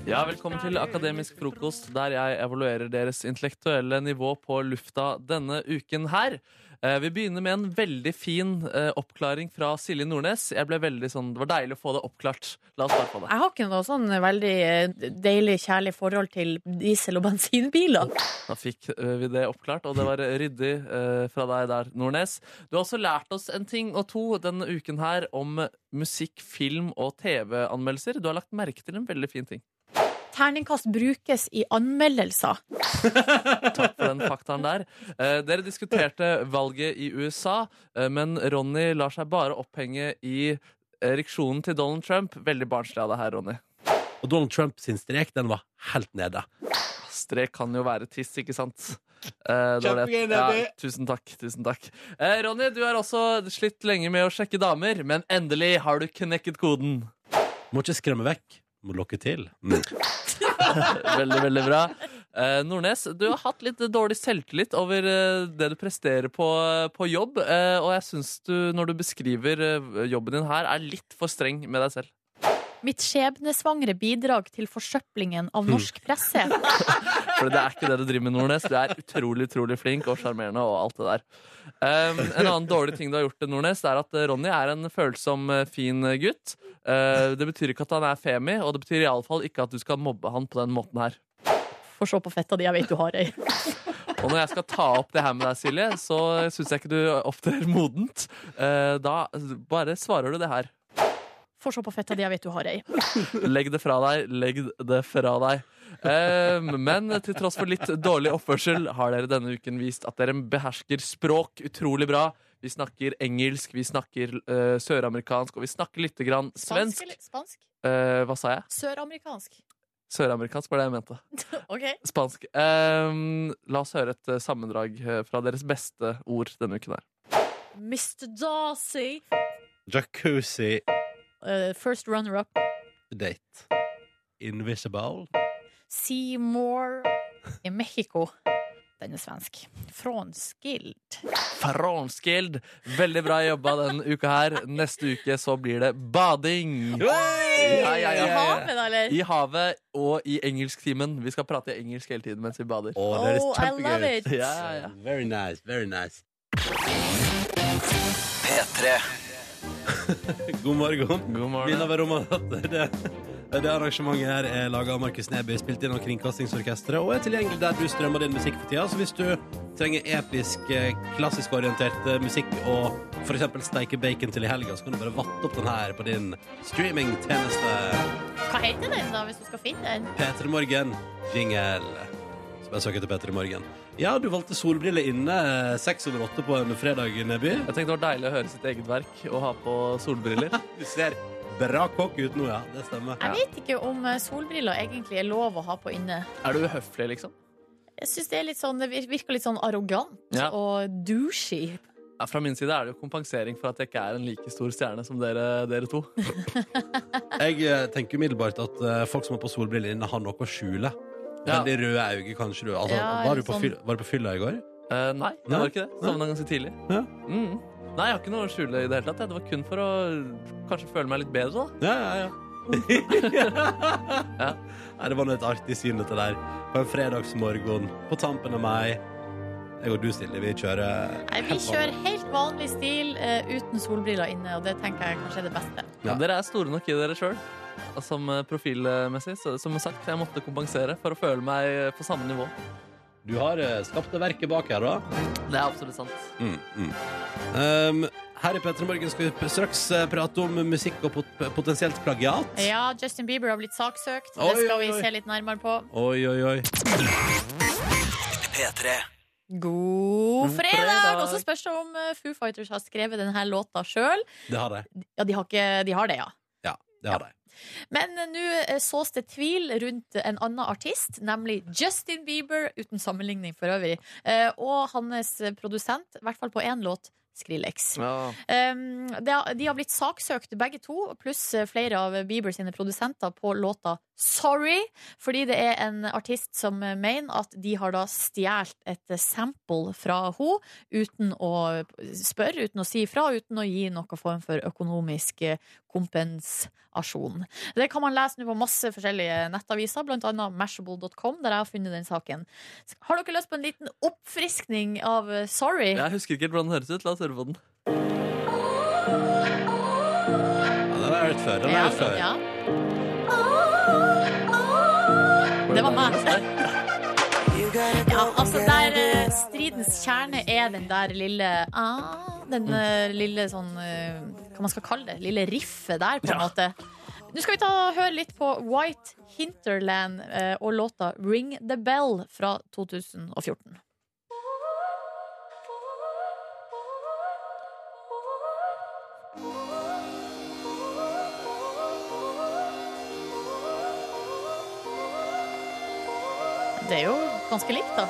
Ja, Velkommen til Akademisk frokost, der jeg evaluerer deres intellektuelle nivå på lufta denne uken her. Eh, Vi begynner med en veldig fin eh, oppklaring fra Silje Nordnes. Jeg ble veldig sånn, Det var deilig å få det oppklart. La oss starte på det. Jeg har ikke noe sånn veldig eh, deilig, kjærlig forhold til diesel- og bensinbiler. Da fikk eh, vi det oppklart, og det var ryddig eh, fra deg der, Nordnes. Du har også lært oss en ting og to denne uken her om musikk, film og TV-anmeldelser. Du har lagt merke til en veldig fin ting. Terningkast brukes i anmeldelser. Takk for den faktaen der. Eh, dere diskuterte valget i USA, eh, men Ronny lar seg bare opphenge i ereksjonen til Donald Trump. Veldig barnslig av deg her, Ronny. Og Donald Trump sin strek, den var helt nede. Strek kan jo være tiss, ikke sant? Eh, det var det. Ja, tusen takk. tusen takk eh, Ronny, du har også slitt lenge med å sjekke damer, men endelig har du knekket koden. Må ikke skremme vekk, må lokke til. Mm. Veldig, veldig bra. Eh, Nordnes, du har hatt litt dårlig selvtillit over eh, det du presterer på, på jobb. Eh, og jeg syns du, når du beskriver eh, jobben din her, er litt for streng med deg selv. Mitt skjebnesvangre bidrag til forsøplingen Hmm. av norsk presse. For det er ikke det du driver med, Nordnes. Du er utrolig utrolig flink og sjarmerende og alt det der. Eh, en annen dårlig ting du har gjort, Nordnes, det er at eh, Ronny er en følsom, eh, fin gutt. Eh, det betyr ikke at han er femi, og det betyr iallfall ikke at du skal mobbe han på den måten her. Få se på fetta di, jeg vet du har ei. Og når jeg skal ta opp det her med deg, Silje, så syns jeg ikke du opptrer modent. Eh, Da bare svarer du det her. Få se på fetta di, jeg vet du har ei. Legg det fra deg, legg det fra deg. Eh, Men til tross for litt dårlig oppførsel har dere denne uken vist at dere behersker språk utrolig bra. Vi snakker engelsk, vi snakker eh, søramerikansk, og vi snakker lite grann Spansk svensk. eller spansk? Eh, hva sa jeg? Søramerikansk. Søramerikansk var det jeg mente. OK. Spansk. Eh, la oss høre et eh, sammendrag eh, fra deres beste ord denne uken her. Mr. Darcy. Jacuzzi eh, first runner-up. date. Invisible. Seymour i Mexico. Den er svensk. Frånskild. Franskild. Veldig bra jobba denne uka her. Neste uke så blir det bading. Ja, ja, ja, I ja, ja. havet, da, eller? I havet og i engelsktimen. Vi skal prate engelsk hele tiden mens vi bader. Å, det høres Oh, I love kjempegøy ut. it! Ja, ja. Very nice, very nice. God morgen. God Min morgen. over om at det, det arrangementet her er laget av Markus Neby, spilt inn av Kringkastingsorkestret og er tilgjengelig der du strømmer din musikk for tida. Så hvis du trenger episk, eh, klassisk orientert eh, musikk og f.eks. steike bacon til i helga, så kan du bare vatte opp den her på din streamingtjeneste. Hva heter den, da, hvis du skal finne den? P3 Morgen, jingle. Så bare søk etter P3 Morgen. Ja, du valgte solbriller inne eh, seks over åtte på en fredag, Neby. Jeg tenkte det var deilig å høre sitt eget verk og ha på solbriller. Du ser bra kokk ut nå, ja. Det stemmer. Jeg vet ikke om eh, solbriller egentlig er lov å ha på inne. Er du uhøflig, liksom? Jeg synes Det er litt sånn, det vir- virker litt sånn arrogant Ja. og douchey. Ja, Fra min side er det jo kompensering for at jeg ikke er en like stor stjerne som dere, dere to. Jeg eh, tenker umiddelbart at eh, folk som har på solbriller inne, har noe å skjule. Ja. Veldig røde øyne, kanskje. Du. Altså, Ja, var, litt du på sånn. fyll, var du på fylla i går? Eh, nei, det Nei? var ikke det. Sovna ganske tidlig. Ja. Mm. Nei, jeg har ikke noe å skjule i det hele tatt. jeg. Det var kun for å kanskje føle meg litt bedre, da. Ja, ja, ja. ja. Nei, det var nå et artig syn, dette der. På en fredagsmorgen, på tampen av meg. Jeg og du, Silje, vi kjører Nei, vi helt kjører vanlig. helt vanlig stil eh, uten solbriller inne, og det tenker jeg kanskje er det beste. Ja. Dere er store nok i dere sjøl. Som eh, profilmessig. Så, som sagt, jeg måtte kompensere for å føle meg eh, på samme nivå. Du har eh, skapt det verket bak her, da. Det er absolutt sant. Mm, mm. Um, her i P3 Morgen skal vi p- straks eh, prate om musikk og pot potensielt plagiat. Ja, Justin Bieber har blitt saksøkt. Oi, det skal oi, vi oi. se litt nærmere på. Oi, oi, oi. God fredag! fredag! Og så spørs det om eh, Foo Fighters har skrevet denne låta sjøl. Det har de. Ja, de har, ikke, de har det, ja. Det har de. Men eh, nå eh, sås det tvil rundt en annen artist, nemlig Justin Bieber, uten sammenligning for øvrig, eh, og hans produsent, i hvert fall på én låt, Skrillex. Um, det, har- de har blitt saksøkt begge to, pluss eh, flere av Bieber sine produsenter på låta Sorry, fordi det er en artist som eh, mener at de har da stjålet et eh, sample fra henne uten å spørre, uten å si ifra, uten å gi noen form for økonomisk eh, kompensasjon. Det kan man lese nå på masse forskjellige nettaviser, bl.a. mashable.com, der jeg har funnet den saken. Har dere lyst på en liten oppfriskning av eh, Sorry? Jeg husker ikke helt hvordan den høres ut. La oss høre på den. Ja, den har jeg hørt før. Den har jeg hørt før. Ja, ja. Det var meg. Ja, altså der eh, stridens kjerne er den der lille ah, Den eh, lille sånn eh, Hva man skal kalle det? Lille riffet der, på en måte. Nå skal vi ta og høre litt på White Hinterland eh, og låta 'Ring the Bell' fra 2014. Det er jo ganske likt, da.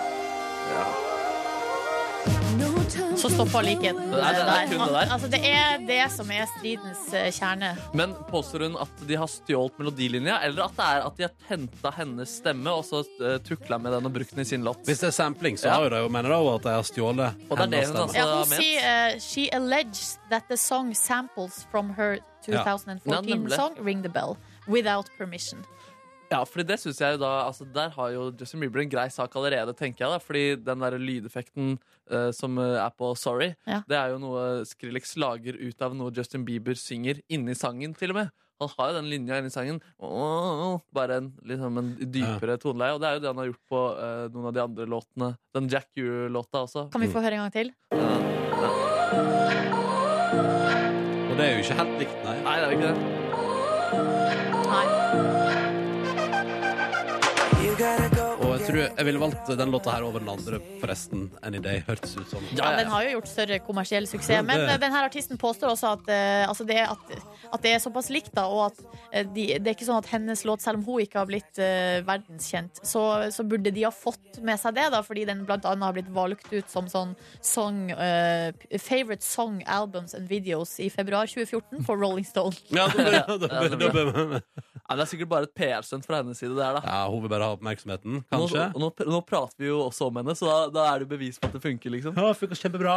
Så stoppa likheten. Det er- det er kun det der. Altså, det er det som er stridens eh, kjerne. Men påstår hun at de har stjålet melodilinja, eller at det er at de har henta hennes stemme og så eh, tukla med den og brukt den i sin låt? Hvis det er sampling, så Ja. har jo de jo mener de jo at de har stjålet Og det er det hun hennes altså- stemme. Ja, hun ment. sier eh, She alleges that the song samples from her Ja. 2014 Ja, nemlig. song Ring the Bell without permission. Ja, fordi det synes jeg jo da altså Der har jo Justin Bieber en grei sak allerede, tenker jeg. da Fordi den der lydeffekten eh, som eh, er på Sorry, Ja. det er jo noe Skrillex lager ut av noe Justin Bieber synger inni sangen, til og med. Han har jo den linja inni sangen. Åh, bare en, liksom en dypere toneleie. Og det er jo det han har gjort på eh, noen av de andre låtene. Den Jack U-låta også. Kan Mm. vi få høre en gang til? Og det er jo ikke helt likt, nei. Nei, det er jo ikke det. Nei. Og jeg tror jeg ville valgt den låta her over den andre, forresten. Any Day hørtes ut som. Ja, den har jo gjort større kommersiell suksess. Ja, det- Men eh, denne artisten påstår også at, eh, altså det, at, at det er såpass likt, da, og at eh, de, det er ikke sånn at hennes låt, selv om hun ikke har blitt eh, verdenskjent, så, så burde de ha fått med seg det, da, fordi den blant annet har blitt valgt ut som sånn song, eh, Favorite Song Albums and Videos i februar 2014 for Rolling Stone. Ja, da bør- da bør- da bør- Ja, det er sikkert bare et PR-stunt fra hennes side. det er da ja, hun vil bare ha oppmerksomheten, nå, kanskje. nå, nå prater vi jo også om henne, så da, da er det jo bevis på at det funker. liksom Ja, funka kjempebra.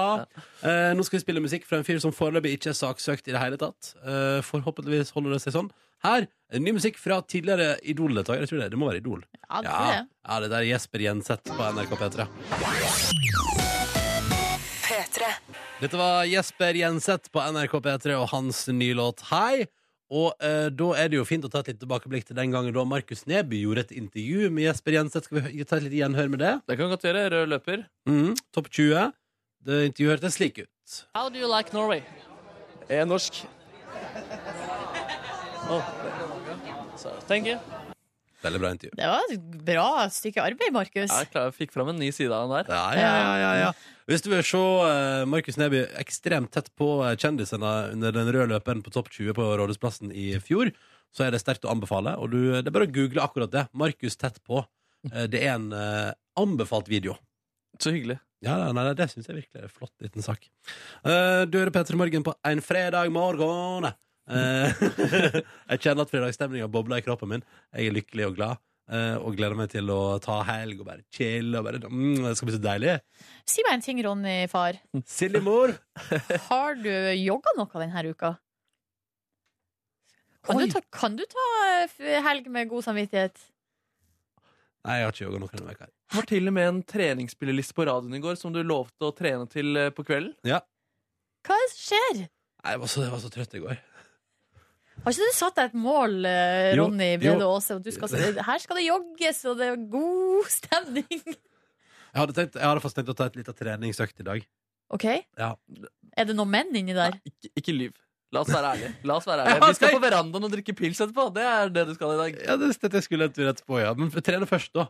Eh, nå skal vi spille musikk fra en fyr som foreløpig ikke er saksøkt i det hele tatt. Eh, forhåpentligvis holder det seg sånn. Her, ny musikk fra tidligere Idol-deltaker. Jeg tror det, det må være Idol. Ja, det tror Ja, jeg. ja det der er Jesper Jenseth på NRK P3. Dette var Jesper Jenseth på NRK P3 og hans nye låt Hei. Og eh, da er det jo fint å ta et litt tilbakeblikk til den gangen da Markus Neby gjorde et intervju med Jesper Jenseth. Skal vi hø- ta et lite gjenhør med det? Det kan vi godt gjøre. Rød løper. Mhm, Topp 20. Det intervjuet hørtes slik ut. How do you like Norway? Jeg er norsk. Thank you. Veldig bra intervju. Det var et bra stykke arbeid, Markus. Jeg er klar, jeg fikk fram en ny side av den der. Ja, ja, ja, ja, ja. Hvis du vil se eh, Markus Neby ekstremt tett på eh, kjendisene under den røde løperen på Topp 20 på Rådhusplassen i fjor, så er det sterkt å anbefale. Og du, det er bare å google akkurat det. Markus tett på. Eh, Det er en eh, anbefalt video. Så hyggelig. Ja, nei, nei, Det syns jeg virkelig er en flott liten sak. Eh, du hører P3 Morgen på en fredag morgen. Eh, jeg kjenner at fredagsstemninga bobler i kroppen min. Jeg er lykkelig og glad. eh, og gleder meg til å ta helg og bare chille. Og bare, mm, det skal bli så deilig. Si meg en ting, Ronny, far. Silje Mor! Har du jogga noe denne uka? Kan Oi. du, ta, kan du ta eh, f- helg med god samvittighet? Nei, jeg har ikke jogga noen denne uka. Det var til og med en treningsspilleliste på radioen i går som du lovte å trene til eh, på kvelden. Hva er det som skjer? Nei, Jeg var så, jeg var så trøtt i går. Har ikke du satt deg et mål, eh, Jo, Ronny jo. Brede Aase? at du skal- Her skal det jogges, og det er god stemning. Jeg hadde, tenkt, jeg hadde fast tenkt å ta et lite treningsøkt i dag. OK? Ja. Er det noen menn inni der? Ikke, ikke lyv. La oss være ærlige. La oss være Jeg ærlige. har Vi skal tenkt- på verandaen og drikke pils etterpå. Det er det du skal i dag. Ja, det, det skulle jeg rett på, ja. Men trene først, da.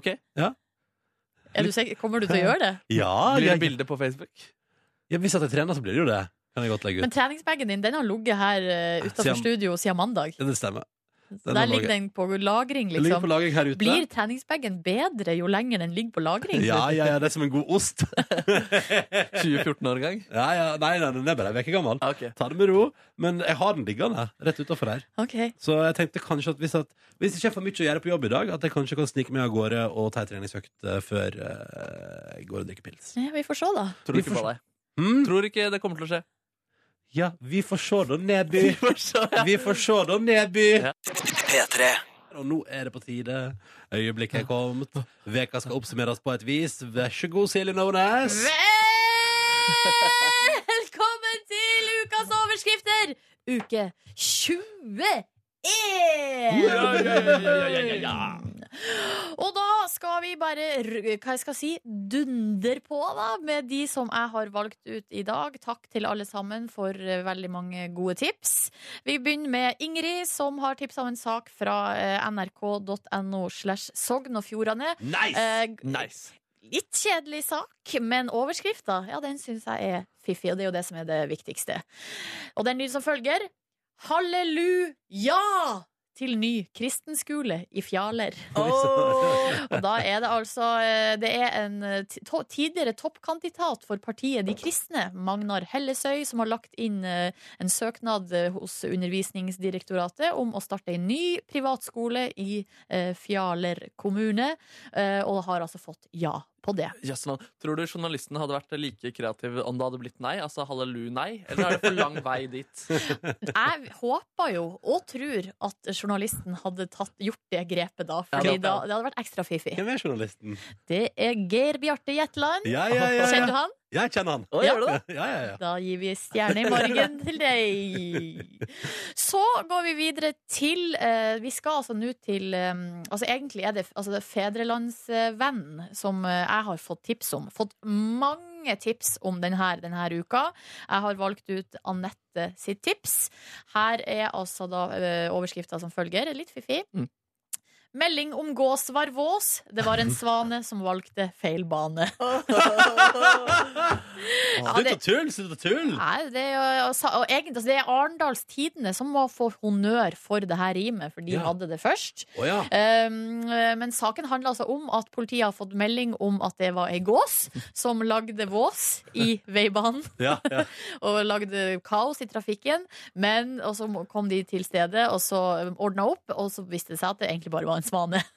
Ok? Er du sikker? Kommer du til å gjøre det? Ja, Blir det jeg, bilde på Facebook? ja, Hvis at jeg trener, så blir det jo det. Kan jeg godt legge ut. Men treningsbagen din den har ligget her uh, utenfor Siden- studio siden mandag. Ja, det stemmer. Så har der ligget- ligger den på lagring, Jeg ligger på liksom. lagring her ute. Blir treningsbagen bedre jo lenger den ligger på lagring? Ja, ja, ja, det er som en god ost. 2014-årgang? Ja, ja, nei, nei, den er bare en uke gammel. Ok. Ta det med ro. Men jeg har den liggende rett utafor her. Ok. Så jeg tenkte kanskje at hvis, at hvis det ikke er for mye å gjøre på jobb i dag, at jeg kanskje kan snike meg av gårde og ta ei treningsøkt eh, før eh, jeg går og drikker pils. Ja, vi får se, da. Tror ikke på deg. Hm? Tror ikke det kommer til å skje. Ja, vi får se da, Neby. Vi får se, ja. Vi får se da, Neby. Ja. Og nå er det på tide. Øyeblikket er kommet. Veka skal oppsummeres på et vis. Vær så god, Silje Nordnes. Velkommen til ukas overskrifter! Uke 21! Og da skal vi bare r- hva jeg skal si, dunder på da, med de som jeg har valgt ut i dag. Takk til alle sammen for eh, veldig mange gode tips. Vi begynner med Ingrid, som har tipsa om en sak fra eh, nrk.no slash Sogn og Fjordane. Nice! Eh, Litt kjedelig sak, men overskrifta, ja, den syns jeg er fiffig, og det er jo det som er det viktigste. Og den lyder som følger Halleluja! Til ny kristenskole i Fjaler. Og da er det altså eh, Det er en eh, ti- to- tidligere toppkandidat for partiet De kristne, Magnar Hellesøy, som har lagt inn eh, en søknad eh, hos Undervisningsdirektoratet om å starte en ny privatskole i eh, Fjaler kommune. Eh, og har altså fått ja på det. Jøss, mann. Tror du journalisten hadde vært like kreativ om det hadde blitt nei? Altså halleluja, nei? Eller er det for lang vei dit? Jeg håper jo, og tror, at journalisten hadde tatt, gjort det grepet da. Ja, Fordi det- da, det hadde vært ekstra fiffig. Hvem er journalisten? Det er Geir Bjarte Jetland. Ja, ja, ja, Kjenner du ja. han? Jeg kjenner han. Å, Ja. gjør du det? Ja, ja, ja. Da gir vi stjerne i morgen til deg. Så går vi videre til eh, Vi skal altså nå til eh, Altså Egentlig er det, altså det er Fedrelandsvenn som eh, jeg har fått tips om. Fått mange tips om den her denne uka. Jeg har valgt ut Anette sitt tips. Her er altså da eh, overskrifta som følger. Litt fiffig. Mm. Melding om gås var vås. Det var en svane som valgte feil bane. Ja, Slutt det- å tulle! Slutt å tulle! Nei, det er, jo- altså, og egentlig, altså, det er Arendals Tidende som må få honnør for det her rimet, for de Ja. hadde det først. Å ja. Um, men saken handler altså om at politiet har fått melding om at det var ei gås som lagde vås i veibanen ja, ja. og lagde kaos i trafikken. Men, og så kom de til stedet, og så ordna opp, og så viste det seg at det egentlig bare var en svane.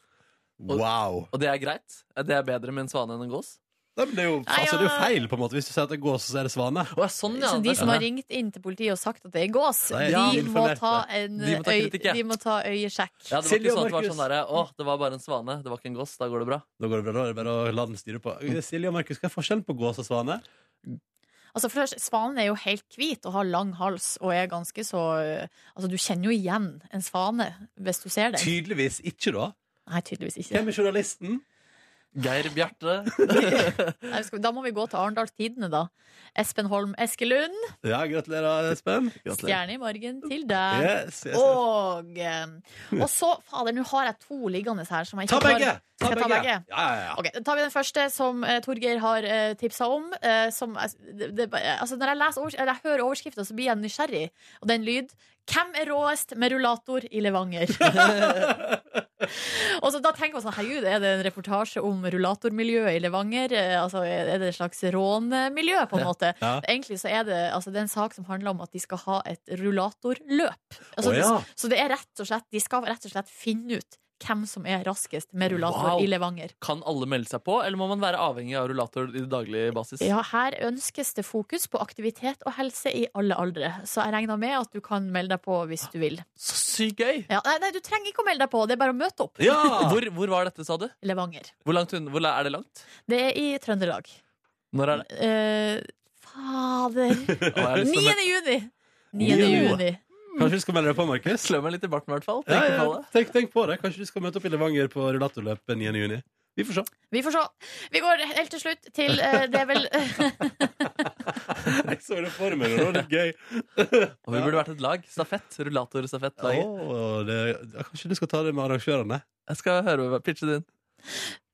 Wow. Og det er greit? Det er bedre med en svane enn en gås? Nei, men det er jo, Nei, altså, det er jo ja. feil, på en måte. Hvis du sier at det er gås, så er det svane. Å, ja, sånn, ja. Så de Det som har skjønner jeg. ringt inn til politiet og sagt at det er gås, Nei, de, de må informerte. ta en, De må ta øy, kritikk, ja. de må ta øyesjekk. Ja, det var Silje og ikke sånn at det var Markus. sånn derre Å, det var bare en svane. Det var ikke en gås. Da går det bra. Mm. Da går det bra, da er det bare å la den styre på. Silje og Markus, hva er forskjellen på gås og svane? Altså for det første, Svanen er jo helt hvit og har lang hals og er ganske så Altså, du kjenner jo igjen en svane hvis du ser den. Tydeligvis ikke, da. Nei, tydeligvis ikke. Hvem er journalisten? Geir Bjarte. Nei, skal, vi- da må vi gå til Arendals Tidende, da. Espen Holm Eskelund, Ja, gratulerer, Espen. stjerne i morgen til deg. Yes, yes, yes. Og, eh, og så, fader, nå har jeg to liggende her som jeg Ta ikke begge! klarer. Skal jeg ta begge? Ja, ja, ja. Ok, Da tar vi den første som eh, Torgeir har eh, tipsa om. Eh, som, eh, det, det, altså når jeg, leser overs eller jeg hører overskrifta, så blir jeg nysgjerrig. Og den lyd Hvem er råest med rullator i Levanger? og så Da tenker man sånn Herregud, er det en reportasje om rullatormiljøet i Levanger? Eh, altså, er er det et slags rånmiljø, på en måte? Ja. Egentlig så er det, altså, det er en sak som handler om at de skal ha et rullatorløp. Altså, Å, ja. Så det er rett og slett, de skal rett og slett finne ut hvem som er raskest med rullator Wow. i Levanger. Kan alle melde seg på, eller må man være avhengig av rullator i daglig basis? Ja, her ønskes det fokus på aktivitet og helse i alle aldre. Så jeg regner med at du kan melde deg på hvis du vil. Så sykt gøy! Ja, nei, nei, du trenger ikke å melde deg på, det er bare å møte opp. Ja! Hvor, hvor var dette, sa du? Levanger. Hvor langt unna? Hvor, la- er det langt? Det er i Trøndelag. Når er det? Eh, fader Å, jeg 9. har lyst til å melde- juni! 9. Jo. juni. Kanskje du skal melde deg på, Markus? Slå meg litt i barten, i hvert fall. Ja, Tenk ja, på det. tenk, tenk på det. Kanskje du skal møte opp i Levanger på rullatorløpet 9. juni. Vi får se. Vi får se. Vi går helt til slutt til eh, Det er vel Jeg så det for meg, og det var litt gøy. Og vi burde vært et lag. Stafett. Rullatorstafett. laget. Åh, det, ja, kanskje du skal ta det med arrangørene? Jeg skal høre hva- pitche din.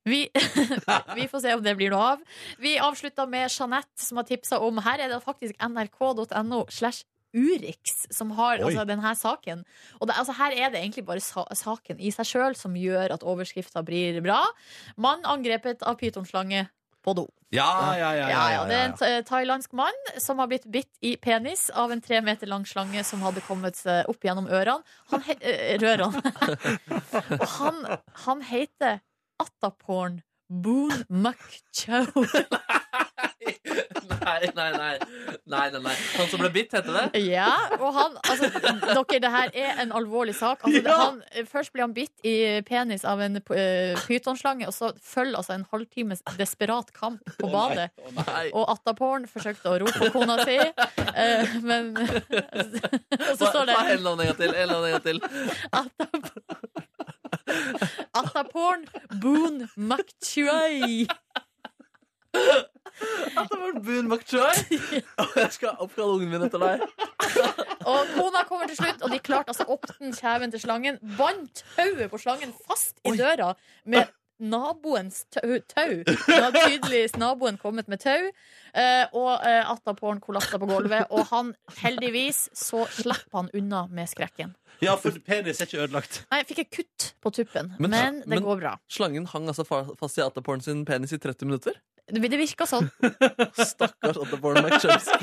Vi, vi får se om det blir noe av. Vi avslutter med Jeanette, som har tipsa om Her er det faktisk nrk.no slash Urix som har Oi. altså, denne saken. Og det, altså, her er det egentlig bare sa saken i seg sjøl som gjør at overskrifta blir bra. Mann angrepet av pytonslange på do. Ja, ja, ja. Ja, ja, det er en eh, thailandsk mann som har blitt bitt i penis av en tre meter lang slange som hadde kommet seg opp gjennom ørene. Han he eh, rørene. Og han, han heter Attaporn Boon Mukchow. Nei, nei, nei. nei, nei, nei. Han som ble bitt, heter det? Ja, og han Altså, dere, det her er en alvorlig sak. Altså, det- Ja. han, eh, først blir han bitt i penis av en eh, pytonslange, og så følger altså en halvtimes desperat kamp på badet. Nei. Og Attaporn forsøkte å rope på kona si, eh, men Og så står det Ta en eller annen gang til. En eller annen gang til. Attaporn Attaporn Boon Makchuay. Det var Boon McChoy. Jeg skal oppkalle ungen min etter deg. Og kona kommer til slutt, og de klarte altså opp den kjeven til slangen. Bandt tauet på slangen fast i døra med naboens tau. tau. Da hadde tydeligvis naboen kommet med tau, eh, og eh, Attaporn kollapsa på gulvet. Og han, heldigvis, så slipper han unna med skrekken. ja, for penis er ikke ødelagt. Nei, jeg fikk et kutt på tuppen, Men- men, det men- går bra. Slangen hang altså fa- fast i Ataporn sin penis i 30 minutter. Det det virka sånn. Stakkars Ataporn McChoy. Så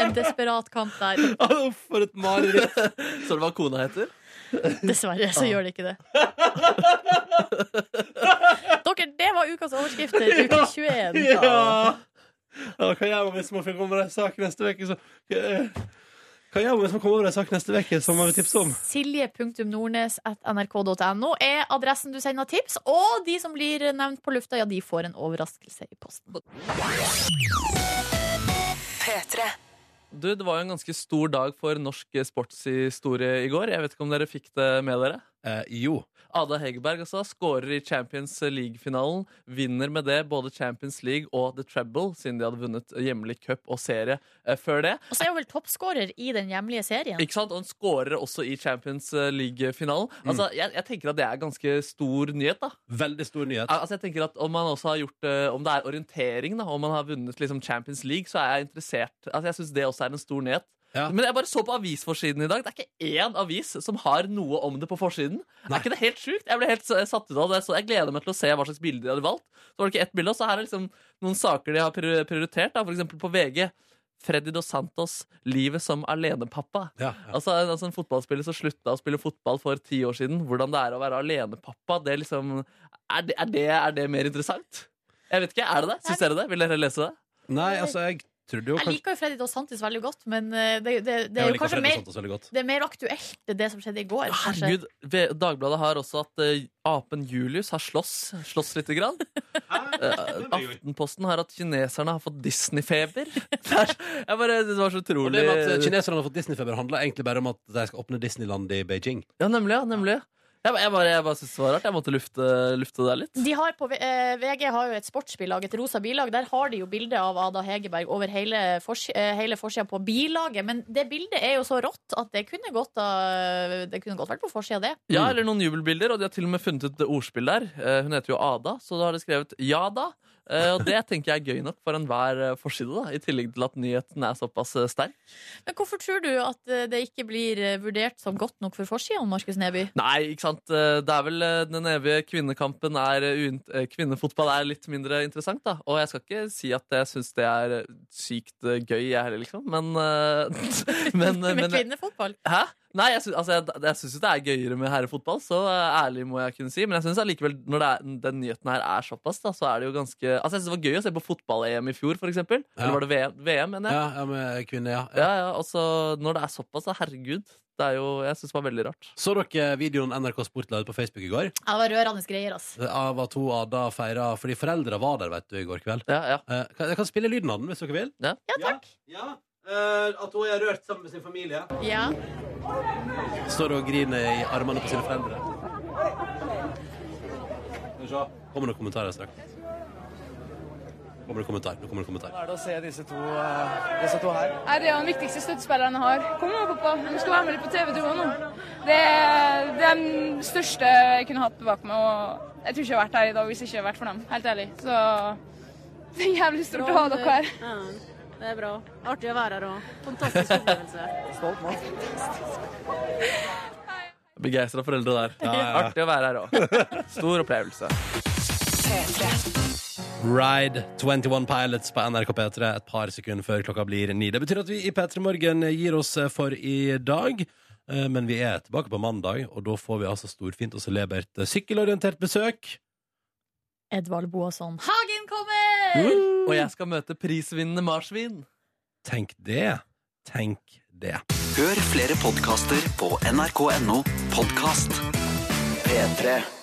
En desperat kamp der. Åh, for et mareritt. det var kona heter? Dessverre så gjør det ikke det. Dere, det var ukas overskrifter, uke 21. Ja. Ja, hva gjør man hvis man får komme over en sak neste uke? Så, hva gjør man hvis man kommer over en sak neste uke som man vil tipse om? Silje.nordnes.nrk.no er adressen du sender tips, og de som blir nevnt på lufta, ja, de får en overraskelse i posten. Du, Det var jo en ganske stor dag for norsk sportshistorie i går. Jeg vet ikke om dere fikk det med dere? Eh, jo. Ada Hegerberg altså, skårer i Champions League-finalen. Vinner med det både Champions League og The Treble, siden de hadde vunnet hjemlig cup og serie eh, før det. Og så er hun vel toppskårer i den hjemlige serien. Ikke sant? Og hun skårer også i Champions eh, League-finalen. Altså, jeg, jeg tenker at det er ganske stor nyhet. da Veldig stor nyhet. Al- Altså jeg tenker at Om man også har gjort eh, Om det er orientering, da om man har vunnet liksom Champions League, så er jeg interessert Altså jeg syns det også er en stor nyhet. Ja. Men jeg bare så på avisforsiden i dag. Det er ikke én avis som har noe om det på forsiden. Er ikke det helt sjukt? Jeg ble helt s- eh, satt ut av det. Så jeg gleder meg til å se hva slags bilde de hadde valgt. Så var det ikke ett bilde, og så her er liksom noen saker de har prior- prioritert. Da. For eksempel på VG. Freddy Dos Santos, livet som alenepappa. Ja, ja. Altså, en- altså En fotballspiller som slutta å spille fotball for ti år siden. Hvordan det er å være alenepappa, det liksom er det, er, det, er det mer interessant? Jeg vet ikke, Er det det? Syns dere det? Vil dere lese det? Nei, altså, jeg Trodde jo Jeg kanskje liker jo Freddy Dos Santis veldig godt, men eh, det, det, Jeg det er jo liker kanskje Fredrik mer, Santos veldig godt. det er mer aktuelt, det, er det som skjedde i går. kanskje. Herregud, V- Dagbladet har også at eh, apen Julius har slåss, slåss lite grann. Eh, Aftenposten har at kineserne har fått Disney-feber. Det er- Jeg bare, det var så Og utrolig. det med at kineserne har fått Disney-feber, handler egentlig bare om at de skal åpne Disneyland i Beijing. Ja, nemlig, ja, nemlig. Jeg, ba- jeg bare, jeg bare syntes det var rart. Jeg måtte lufte, lufte det der litt. De har på, V- eh, VG har jo et sportsbilag, et rosa bilag. Der har de jo bilde av Ada Hegerberg over hele, fors, eh, hele forsida på bilaget. Men det bildet er jo så rått at det kunne godt, ha- det kunne godt vært på forsida, det. Ja, eller noen jubelbilder, og de har til og med funnet et ordspill der. Eh, Hun heter jo Ada, så da har de skrevet Ja da. Eh, Og det tenker jeg er gøy nok for enhver eh, forside, da. I tillegg til at nyheten er såpass eh, sterk. Men hvorfor tror du at eh, det ikke blir eh, vurdert som godt nok for forsida, Markus Neby? Nei, ikke sant. Eh, Det er vel eh, den evige kvinnekampen er eh, uint- eh, Kvinnefotball er litt mindre interessant, da. Og jeg skal ikke si at jeg syns det er eh, sykt eh, gøy, jeg heller, liksom. Men, eh, men, eh, Med men kvinnefotball? Hæ? Nei, jeg syns altså, jeg, jeg synes jo det er gøyere med herrefotball, så eh, ærlig må jeg kunne si. Men jeg synes allikevel, når det er, den nyheten her er såpass, da, så er det jo ganske Altså, jeg synes det var gøy å se på fotball-EM i fjor, for eksempel. Ja. Eller var det VM, VM mener jeg? Ja, ja med kvinner, ja. Ja, ja. Og så når det er såpass, da, herregud. Det er jo Jeg syns det var veldig rart. Så dere videoen NRK Sport la ut på Facebook i går? Ja, det var rørende greier, altså. Av at hun Ada feira fordi foreldra var der, vet du, i går kveld. Ja, ja. Eh, kan- Jeg kan spille lyden av den hvis dere vil. Ja, takk. Ja, Eh, At hun er rørt sammen med sin familie. Ja. Står og griner i armene på sine foreldre. Skal vi se. Kommer det kommentarer straks? Kommer det kommentar? Nå kommer det kommentar. er det å se disse to, eh, disse to her? Nei, Det er jo den viktigste støttespilleren jeg har. Kom nå, pappa. Du skal være med litt på TV-tua nå. Det, er- det er den største jeg kunne hatt bak meg. og Jeg tror ikke jeg hadde vært her i dag hvis ikke jeg hadde vært for dem. Helt ærlig. Så det er jævlig stort å ha dere her. Det er bra. Artig å være her òg. Fantastisk opplevelse. Begeistra foreldre der. Artig å være her òg. Stor opplevelse. Ride 21 Pilots på NRK P3 et par sekunder før klokka blir ni. Det betyr at vi i P3 Morgen gir oss eh, for i dag. eh, Men vi er tilbake på mandag, og da får vi altså storfint og celebert eh, sykkelorientert besøk. Edvald Boasson Hagen kommer! Og jeg skal møte prisvinnende marsvin. Tenk det. Tenk det. Hør flere podkaster på nrk.no podkast. P3.